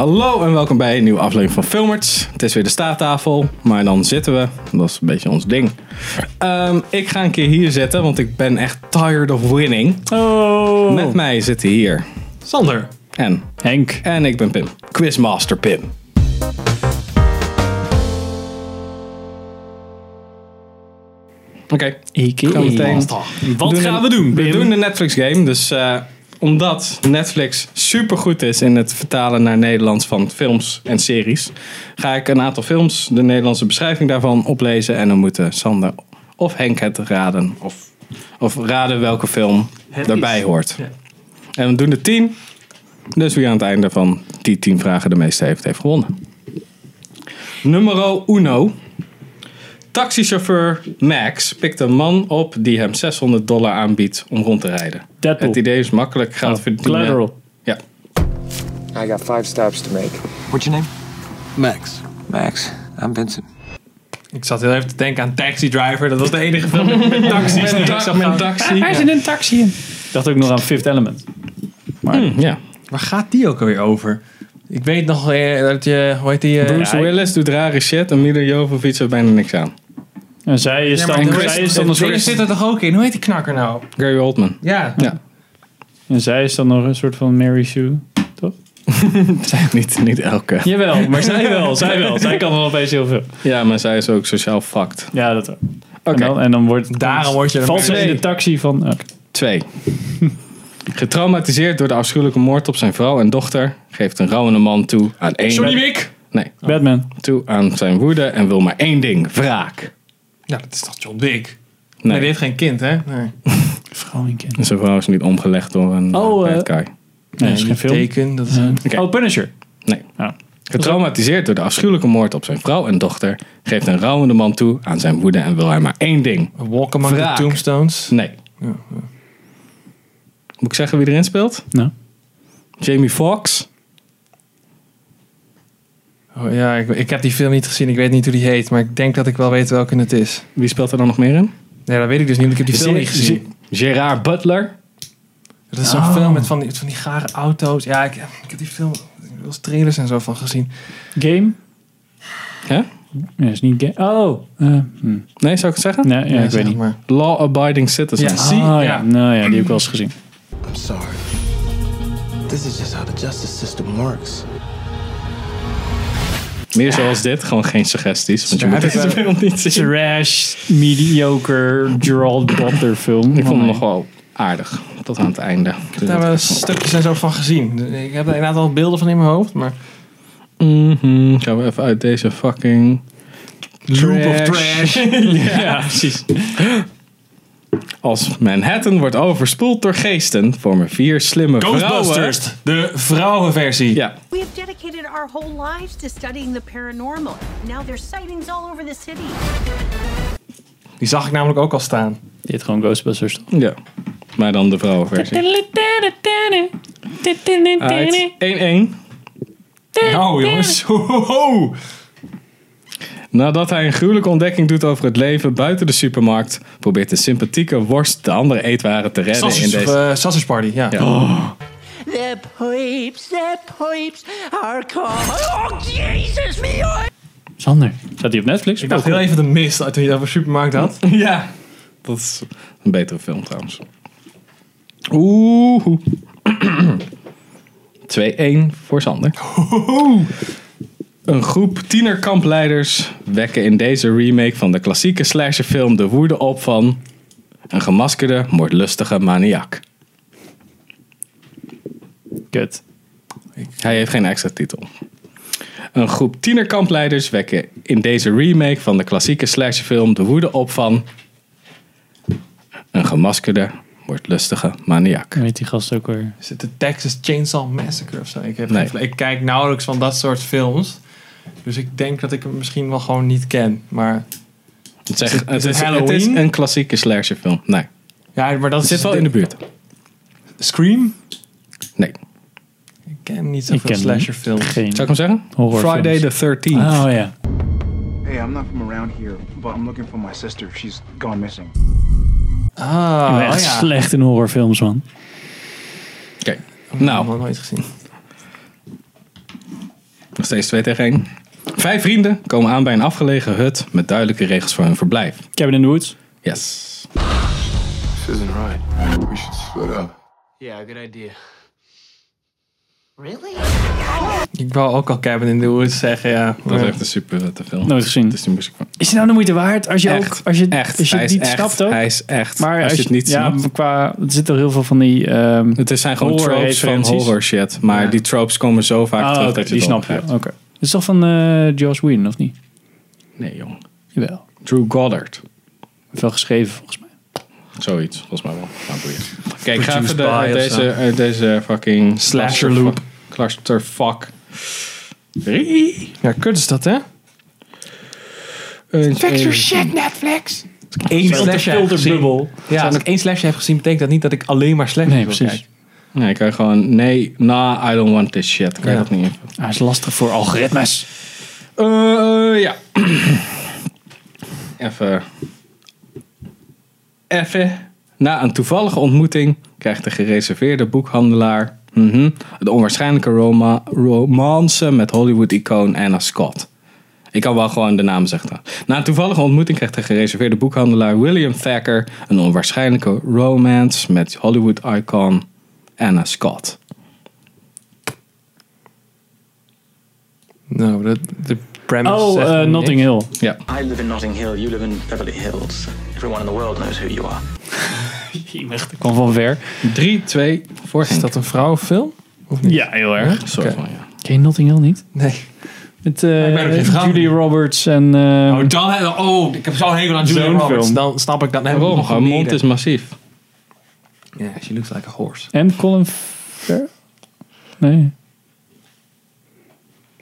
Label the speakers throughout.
Speaker 1: Hallo en welkom bij een nieuwe aflevering van Filmers. Het is weer de staattafel, maar dan zitten we. Dat is een beetje ons ding. Ehm, ik ga een keer hier zitten, want ik ben echt tired of winning.
Speaker 2: Oh.
Speaker 1: Met mij zitten hier
Speaker 2: Sander.
Speaker 1: en
Speaker 2: Henk.
Speaker 1: en ik ben Pim. Quizmaster Pim. Oké,
Speaker 2: Ik.
Speaker 1: gaan we meteen.
Speaker 2: Wat
Speaker 1: doen
Speaker 2: gaan
Speaker 1: een-
Speaker 2: we doen?
Speaker 1: We
Speaker 2: Pim?
Speaker 1: doen de Netflix game. Dus eh, omdat Netflix supergoed is in het vertalen naar Nederlands van films en series, ga ik een aantal films, de Nederlandse beschrijving daarvan, oplezen. En dan moeten Sander of Henk het raden. Of, of raden welke film
Speaker 2: Het
Speaker 1: daarbij
Speaker 2: is.
Speaker 1: hoort.
Speaker 2: Ja.
Speaker 1: En we doen de tien. Dus wie aan het einde van die tien vragen de meeste heeft, heeft gewonnen. Numero uno. Taxichauffeur Max pikt een man op die hem 600 dollar aanbiedt om rond te rijden.
Speaker 2: Deadpool. Oh,
Speaker 1: Het idee is makkelijk geld verdienen.
Speaker 2: Collateral.
Speaker 1: Ja.
Speaker 3: I got five stops to make.
Speaker 4: What's your name?
Speaker 5: Max.
Speaker 4: Max. I'm Vincent.
Speaker 2: Ik zat heel even te denken aan Taxi Driver. Dat was de enige film met met taxis. die ik zag gaan.
Speaker 1: taxi.
Speaker 2: Hij zit in een taxi in. Ik dacht ook nog aan Fifth Element.
Speaker 1: Hm, Ja.
Speaker 6: Waar gaat die ook alweer over? Ik weet nog eh, dat je, hoe heet die? eh,
Speaker 1: Bruce
Speaker 2: Ja, ik-
Speaker 1: Willis doet rare shit en Mila Jovovich heeft bijna niks aan.
Speaker 2: En zij is dan,
Speaker 6: maar Chris-
Speaker 2: zij is dan een
Speaker 6: Dingen
Speaker 2: soort...
Speaker 6: zit er toch ook in? Hoe heet die knakker nou?
Speaker 1: Gary Oldman.
Speaker 6: Ja.
Speaker 1: Ja.
Speaker 2: En zij is dan nog een soort van Mary Sue. Toch?
Speaker 1: niet, niet elke.
Speaker 2: Jawel, maar zij wel. Zij wel. Zij kan wel opeens heel veel.
Speaker 1: Ja, maar zij is ook sociaal fucked.
Speaker 2: Ja, dat ook. En,
Speaker 1: Oké.
Speaker 2: dan, en dan wordt...
Speaker 6: Daarom word je er
Speaker 2: Valt ze
Speaker 6: mee.
Speaker 2: in de taxi van... oké.
Speaker 1: 2. Getraumatiseerd door de afschuwelijke moord op zijn vrouw en dochter, geeft een rouwende man toe aan één.
Speaker 6: Johnny Wick.
Speaker 1: Nee,
Speaker 2: Batman.
Speaker 1: toe aan zijn woede en wil maar één ding: wraak.
Speaker 6: Ja, dat is toch John Wick? Nee,
Speaker 1: Nee,
Speaker 6: die heeft geen kind, hè? Nee.
Speaker 2: Vrouwenkind.
Speaker 1: zijn vrouw is niet omgelegd door een
Speaker 2: Oh,
Speaker 1: oh,
Speaker 2: eh, Nee, dat is geen film.
Speaker 6: Teken, dat is
Speaker 1: Oké.
Speaker 2: Oh, Punisher.
Speaker 1: Nee.
Speaker 2: Ja.
Speaker 1: Getraumatiseerd door de afschuwelijke moord op zijn vrouw en dochter, geeft een rouwende man toe aan zijn woede en wil hij maar één ding:
Speaker 6: een Walk Among
Speaker 1: Wraak.
Speaker 6: the Tombstones.
Speaker 1: nee. Moet ik zeggen wie erin speelt?
Speaker 2: Nou.
Speaker 1: Jamie Foxx.
Speaker 6: Oh, ja, ik, ik heb die film niet gezien. Ik weet niet hoe die heet, maar ik denk dat ik wel weet welke het is.
Speaker 1: Wie speelt er dan nog meer in?
Speaker 6: Nee, dat weet ik dus niet, want ik heb die film niet gezien.
Speaker 1: Gerard Butler.
Speaker 6: Dat is zo'n film met van die, van die gare auto's. Ja, ik, ik heb die film wel eens trailers en zo van gezien.
Speaker 2: Game?
Speaker 1: Hè?
Speaker 2: Nee, is niet game. Oh. eh, hm.
Speaker 1: Nee, zou ik het zeggen?
Speaker 2: Nee, ja, ik
Speaker 6: zeg
Speaker 2: weet niet.
Speaker 6: Maar.
Speaker 1: Law-abiding citizens.
Speaker 6: Ja.
Speaker 2: Ah,
Speaker 6: Zie-
Speaker 2: ja.
Speaker 6: ja.
Speaker 2: Nou ja, die heb ik wel eens gezien.
Speaker 5: I'm sorry. This is just how the justice system works.
Speaker 1: Meer zoals dit, gewoon geen suggesties. Want je
Speaker 6: Ja,
Speaker 1: moet
Speaker 6: heb ik
Speaker 1: deze film niet zien.
Speaker 2: Trash, mediocre, Gerald Butler film. Oh
Speaker 1: Ik vond hem nog wel aardig. Tot aan het einde.
Speaker 6: Ik heb daar wel stukjes en zo van gezien. Ik heb er inderdaad al beelden van in mijn hoofd, maar...
Speaker 1: Mhm, Gaan we even uit deze fucking...
Speaker 6: Loop
Speaker 1: Trash.
Speaker 2: Ja, precies.
Speaker 1: Als Manhattan wordt overspoeld door geesten, vormen vier slimme vrouwen...
Speaker 6: Ghostbusters, de vrouwenversie.
Speaker 1: Ja,
Speaker 7: We have dedicated our whole lives to studying the paranormal. Now there's sightings all over the city.
Speaker 6: Die zag ik namelijk ook al staan.
Speaker 2: Dit gewoon Ghostbusters. toch?
Speaker 1: ja. Maar dan de vrouwenversie. Uit 1-1.
Speaker 6: Nou jongens, ho, ho, ho.
Speaker 1: Nadat hij een gruwelijke ontdekking doet over het leven buiten de supermarkt, probeert de sympathieke worst de andere eetwaren te redden in
Speaker 6: Sausage,
Speaker 1: deze...
Speaker 6: eh, sausage Party, ja.
Speaker 1: Ja.
Speaker 8: The pipes, the pipes are called. Oh, Jesus, me! oh!
Speaker 2: Sander. Zat hij op Netflix? Oh,
Speaker 6: Ik dacht heel even de mist uit toen je het over supermarkt had.
Speaker 1: Ja, dat is een betere film trouwens. Oeh. 2-1 voor Sander. Een groep tienerkampleiders wekken in deze remake van de klassieke slasherfilm de woede op van een gemaskerde, moordlustige maniak.
Speaker 2: Kut.
Speaker 1: Hij heeft geen extra titel. Een groep tienerkampleiders wekken in deze remake van de klassieke slasherfilm de woede op van een gemaskerde, moordlustige maniak.
Speaker 2: Hoe heet die gast ook weer?
Speaker 6: Is het de Texas Chainsaw Massacre of zo? Ik, heb
Speaker 1: Nee.
Speaker 6: geen fla- ik kijk nauwelijks van dat soort films. Dus ik denk dat ik hem misschien wel gewoon niet ken. Maar,
Speaker 1: Het is, echt-
Speaker 6: het-
Speaker 1: het
Speaker 6: is het
Speaker 1: is, het
Speaker 6: Halloween?
Speaker 1: is een klassieke slasherfilm. Nee.
Speaker 6: ja, maar dat
Speaker 1: Het zit wel in de buurt.
Speaker 6: Scream?
Speaker 1: Nee.
Speaker 6: Ik ken niet
Speaker 2: Ik
Speaker 6: zoveel
Speaker 2: ken
Speaker 6: slasherfilms.
Speaker 2: Geen.
Speaker 1: Zou ik hem zeggen?
Speaker 2: Horrorfilms.
Speaker 1: Friday the 13th.
Speaker 2: Oh ja.
Speaker 9: Hey, I'm not from around here, but I'm looking for my sister. She's gone missing.
Speaker 2: Ik
Speaker 6: Ah,
Speaker 2: ben
Speaker 6: oh
Speaker 2: echt
Speaker 6: ja.
Speaker 2: slecht in horrorfilms, man.
Speaker 1: Oké.
Speaker 6: Nog
Speaker 1: Nou,
Speaker 6: nooit gezien.
Speaker 1: steeds 2 tegen 1. Vijf vrienden komen aan bij een afgelegen hut met duidelijke regels voor hun verblijf.
Speaker 2: Cabin in the Woods.
Speaker 1: Yes.
Speaker 9: This isn't right. We should split up.
Speaker 8: Yeah, good idea. Really?
Speaker 10: Ik wou ook al Cabin in the Woods zeggen, ja.
Speaker 1: Dat is echt een super vette film.
Speaker 2: Nooit gezien.
Speaker 1: Het is die muziek van.
Speaker 2: Is het nou de moeite waard? Als je ook, als je,
Speaker 1: echt.
Speaker 2: Als je
Speaker 1: hij
Speaker 2: het
Speaker 1: is
Speaker 2: niet
Speaker 1: echt,
Speaker 2: snapt ook.
Speaker 1: Hij is echt.
Speaker 2: Maar
Speaker 1: als, je het niet
Speaker 2: ja,
Speaker 1: snapt.
Speaker 2: Qua, er zitten heel veel van die... ehm
Speaker 1: Het zijn gewoon
Speaker 2: Horror
Speaker 1: tropes van
Speaker 2: referenties.
Speaker 1: horror shit. Maar die tropes komen zo vaak
Speaker 2: ah,
Speaker 1: terug.
Speaker 2: oké,
Speaker 1: dat je
Speaker 2: die
Speaker 1: het
Speaker 2: snap je.
Speaker 1: wel
Speaker 2: Oké. Het is toch van eh Josh Whedon, of niet?
Speaker 1: begrijpt. Nee, jong.
Speaker 2: Jawel.
Speaker 1: Drew Goddard.
Speaker 2: Wel geschreven, volgens mij.
Speaker 1: Zoiets, volgens mij wel. Nou, boeien. Kijk, ik ga
Speaker 6: Produced
Speaker 1: even de,
Speaker 6: by
Speaker 1: uit
Speaker 6: of
Speaker 1: deze,
Speaker 6: zo.
Speaker 2: eh,
Speaker 1: uit deze fucking...
Speaker 6: Slasher loop.
Speaker 1: Clusterfuck. Drie.
Speaker 6: Ja, kut is dat, hè?
Speaker 1: Fix your
Speaker 6: shit, Netflix! Eén slasher heb gezien.
Speaker 2: filterbubbel.
Speaker 6: Ja, als ik één slasher heb gezien, betekent dat niet dat ik alleen maar slasher
Speaker 2: Nee,
Speaker 6: wil
Speaker 2: precies.
Speaker 6: kijken.
Speaker 1: Nee, kan je gewoon... Nee, nah, I don't want this shit. Kan je
Speaker 6: Ja.
Speaker 1: dat niet invullen.
Speaker 2: Hij Ah, is lastig voor algoritmes.
Speaker 1: Eh, eh, ja. Even. Even. Na een toevallige ontmoeting krijgt de gereserveerde boekhandelaar mhm, de onwaarschijnlijke roma, romance met Hollywood-icoon Anna Scott. Ik kan wel gewoon de naam zeggen. Na een toevallige ontmoeting krijgt de gereserveerde boekhandelaar William Thacker een onwaarschijnlijke romance met Hollywood-icoon Anna Scott.
Speaker 6: Nou, de, de premise
Speaker 2: Oh,
Speaker 6: zegt
Speaker 2: eh,
Speaker 6: me
Speaker 2: Notting
Speaker 6: niks.
Speaker 2: Hill.
Speaker 1: Ja.
Speaker 5: I live in Notting Hill, you live in Beverly Hills. Everyone in the world knows who you are.
Speaker 2: Ik kwam van ver.
Speaker 1: 3, 2, voor
Speaker 6: Is dat een vrouwenfilm?
Speaker 2: Ja, heel erg.
Speaker 1: Soort van, ja.
Speaker 2: Ken je Notting Hill niet?
Speaker 6: Nee.
Speaker 2: Met
Speaker 6: ik ben er
Speaker 2: eh
Speaker 6: geen vrouw.
Speaker 2: Julie Roberts en... eh,
Speaker 6: Oh, dan, oh, ik heb zo'n hekel aan Julia
Speaker 2: Zo'n
Speaker 6: Roberts.
Speaker 2: film.
Speaker 6: Dan snap ik dat. Dan heb ik
Speaker 1: Waarom?
Speaker 6: nog
Speaker 1: Haar
Speaker 6: een
Speaker 1: mond
Speaker 6: reden.
Speaker 1: is massief.
Speaker 6: Ja, she looks like a horse.
Speaker 2: en Colin Farrell? Nee.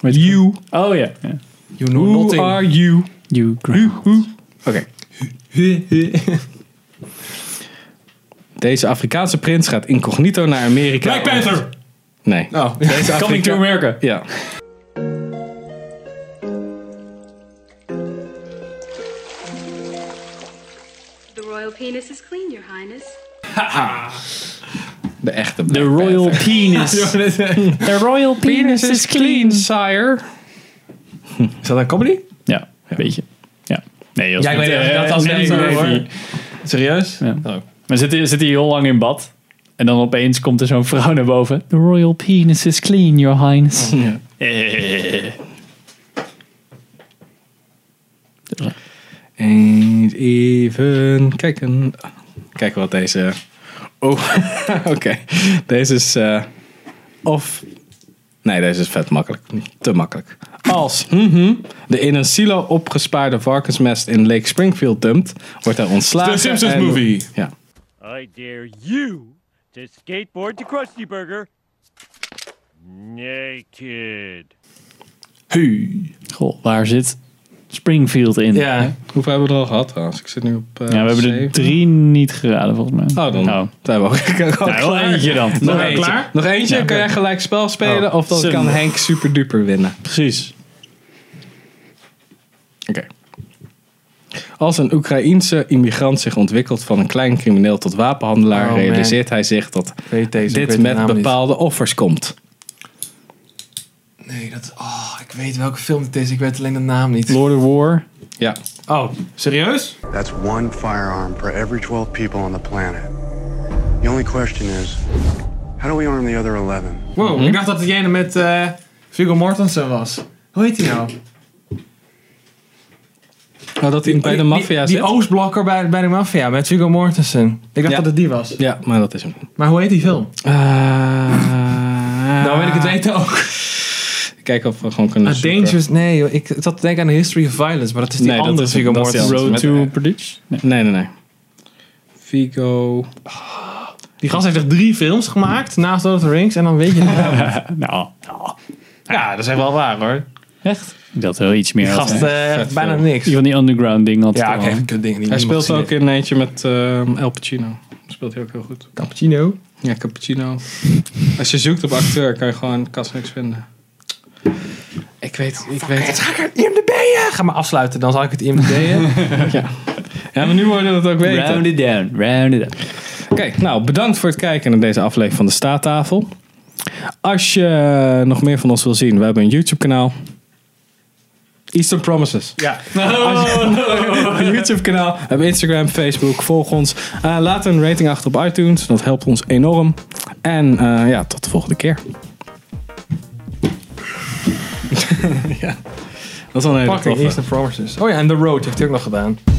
Speaker 2: Weet ik
Speaker 1: You.
Speaker 2: wel. Oh ja. ja.
Speaker 6: You know
Speaker 1: Who
Speaker 6: nothing.
Speaker 1: are you?
Speaker 2: You.
Speaker 1: Oké. Deze Afrikaanse prins gaat incognito naar Amerika.
Speaker 6: Black Panther!
Speaker 1: Nee.
Speaker 6: Oh, deze
Speaker 2: Coming to America.
Speaker 1: Ja.
Speaker 7: The royal penis is clean, your highness.
Speaker 1: De echte
Speaker 2: The
Speaker 1: Black
Speaker 2: royal
Speaker 1: Panther.
Speaker 2: penis. The royal penis is clean.
Speaker 1: sire.
Speaker 6: Is dat een comedy?
Speaker 2: Ja, een beetje. Ja. Nee, dat is
Speaker 6: Ja, ik
Speaker 2: net,
Speaker 6: weet niet,
Speaker 2: eh,
Speaker 6: dat was
Speaker 2: net
Speaker 6: net
Speaker 2: een
Speaker 6: zo,
Speaker 2: movie.
Speaker 6: hoor. Oh. Serieus?
Speaker 2: Ja. Oh. Maar zit, hij- zit hij heel lang in bad. En dan opeens komt er zo'n vrouw naar boven. The royal penis is clean, your highness. Eh.
Speaker 1: Eens even kijken. Kijken wat deze... Oh, oké. Deze is... eh, of... Nee, deze is vet makkelijk. Te makkelijk. Als mhm, de in een silo opgespaarde varkensmest in Lake Springfield dumpt, wordt hij ontslagen.
Speaker 6: The Simpsons
Speaker 1: en-
Speaker 6: movie.
Speaker 1: Ja.
Speaker 5: I dare you to skateboard to Krusty Burger. Naked.
Speaker 2: Goh, waar zit Springfield in?
Speaker 6: Ja.
Speaker 1: Hoeveel hebben we er al gehad trouwens? Ik zit nu op. eh,
Speaker 2: Ja, we hebben er
Speaker 1: zeven.
Speaker 2: drie niet geraden volgens mij.
Speaker 1: Oh, dan
Speaker 2: Nou,
Speaker 1: zijn we ook. ook
Speaker 2: nou, wel
Speaker 1: klaar.
Speaker 2: eentje dan.
Speaker 1: Nog
Speaker 2: Nou,
Speaker 1: eentje. Oh,
Speaker 2: klaar?
Speaker 1: Nog eentje, kan jij gelijk spel spelen of dan
Speaker 2: Sim.
Speaker 1: kan Henk super duper winnen.
Speaker 2: Precies.
Speaker 1: Oké. Als een Oekraïense immigrant zich ontwikkelt van een klein crimineel tot wapenhandelaar,
Speaker 6: Oh, man.
Speaker 1: realiseert hij zich dat
Speaker 6: Weet deze, ik weet
Speaker 1: dit
Speaker 6: de
Speaker 1: met
Speaker 6: naam niet.
Speaker 1: bepaalde offers komt.
Speaker 6: Nee, dat... Oh, ik weet welke film het is. Ik weet alleen de naam niet.
Speaker 2: Lord of War.
Speaker 1: Ja.
Speaker 6: Oh, serieus?
Speaker 9: That's one firearm for every 12 people on the planet. The only question is, how do we arm the other 11?
Speaker 6: Wow, ik dacht dat degene met eh Viggo Mortensen was. Hoe heet die nou?
Speaker 1: Oh, dat hij bij de
Speaker 6: Die-
Speaker 1: maffia
Speaker 6: Die,
Speaker 1: zit?
Speaker 6: die Oostblokker bij, bij de maffia met Viggo Mortensen. Ik dacht
Speaker 1: Ja.
Speaker 6: dat het die was.
Speaker 1: ja, maar dat is hem.
Speaker 6: Maar hoe heet die film?
Speaker 1: Eh,
Speaker 6: Nou weet ik het weten ook.
Speaker 1: Kijk of we gewoon kunnen
Speaker 6: A
Speaker 1: zoeken.
Speaker 6: Dangerous... Nee, joh, ik zat te denken aan The History of Violence, maar dat is die
Speaker 1: Nee, dat
Speaker 6: andere
Speaker 1: is-
Speaker 6: Viggo
Speaker 1: dat is die
Speaker 6: Mortensen.
Speaker 1: andere.
Speaker 2: Road
Speaker 1: Met-
Speaker 2: to Perdition. Nee.
Speaker 1: Nee, nee, nee. Vigo.
Speaker 6: Die gast heeft echt drie films gemaakt naast Lord of the Rings en dan weet je het wel.
Speaker 2: Nou,
Speaker 6: Ja, dat is echt wel waar hoor.
Speaker 2: echt? Ik dacht wel iets meer.
Speaker 6: Die
Speaker 2: had.
Speaker 6: gast
Speaker 2: Die
Speaker 6: eh,
Speaker 1: Vet
Speaker 6: bijna
Speaker 1: film.
Speaker 6: niks.
Speaker 2: van die underground ding had. eh.
Speaker 6: Ja,
Speaker 2: het
Speaker 6: ik
Speaker 2: al.
Speaker 6: heb kut dingen die
Speaker 1: Hij speelt ook
Speaker 6: in
Speaker 1: in eentje met ehm El Pacino. Speelt hij ook heel goed.
Speaker 6: cappuccino.
Speaker 1: Ja, Cappuccino. Als je zoekt op acteur, kan je gewoon kast niks vinden. Ik weet, ik weet.
Speaker 6: Ja, ga maar afsluiten, dan zal ik het IMDb'en.
Speaker 1: Ja, maar nu worden we het ook weten.
Speaker 2: Round it down, round it down.
Speaker 1: Oké, nou bedankt voor het kijken naar deze aflevering van de Staattafel. Als je eh, nog meer van ons wil zien, we hebben een YouTube kanaal. Eastern Promises. Ja. een YouTube kanaal. We hebben Instagram, Facebook. Volg ons. Eh, laat een rating achter op iTunes. Dat helpt ons enorm. En eh, ja, tot de volgende keer. ja. Dat is al een hele
Speaker 6: Fucking
Speaker 1: toffe.
Speaker 6: Eastern Promises. Oh ja, en The Road heeft hij ook nog gedaan.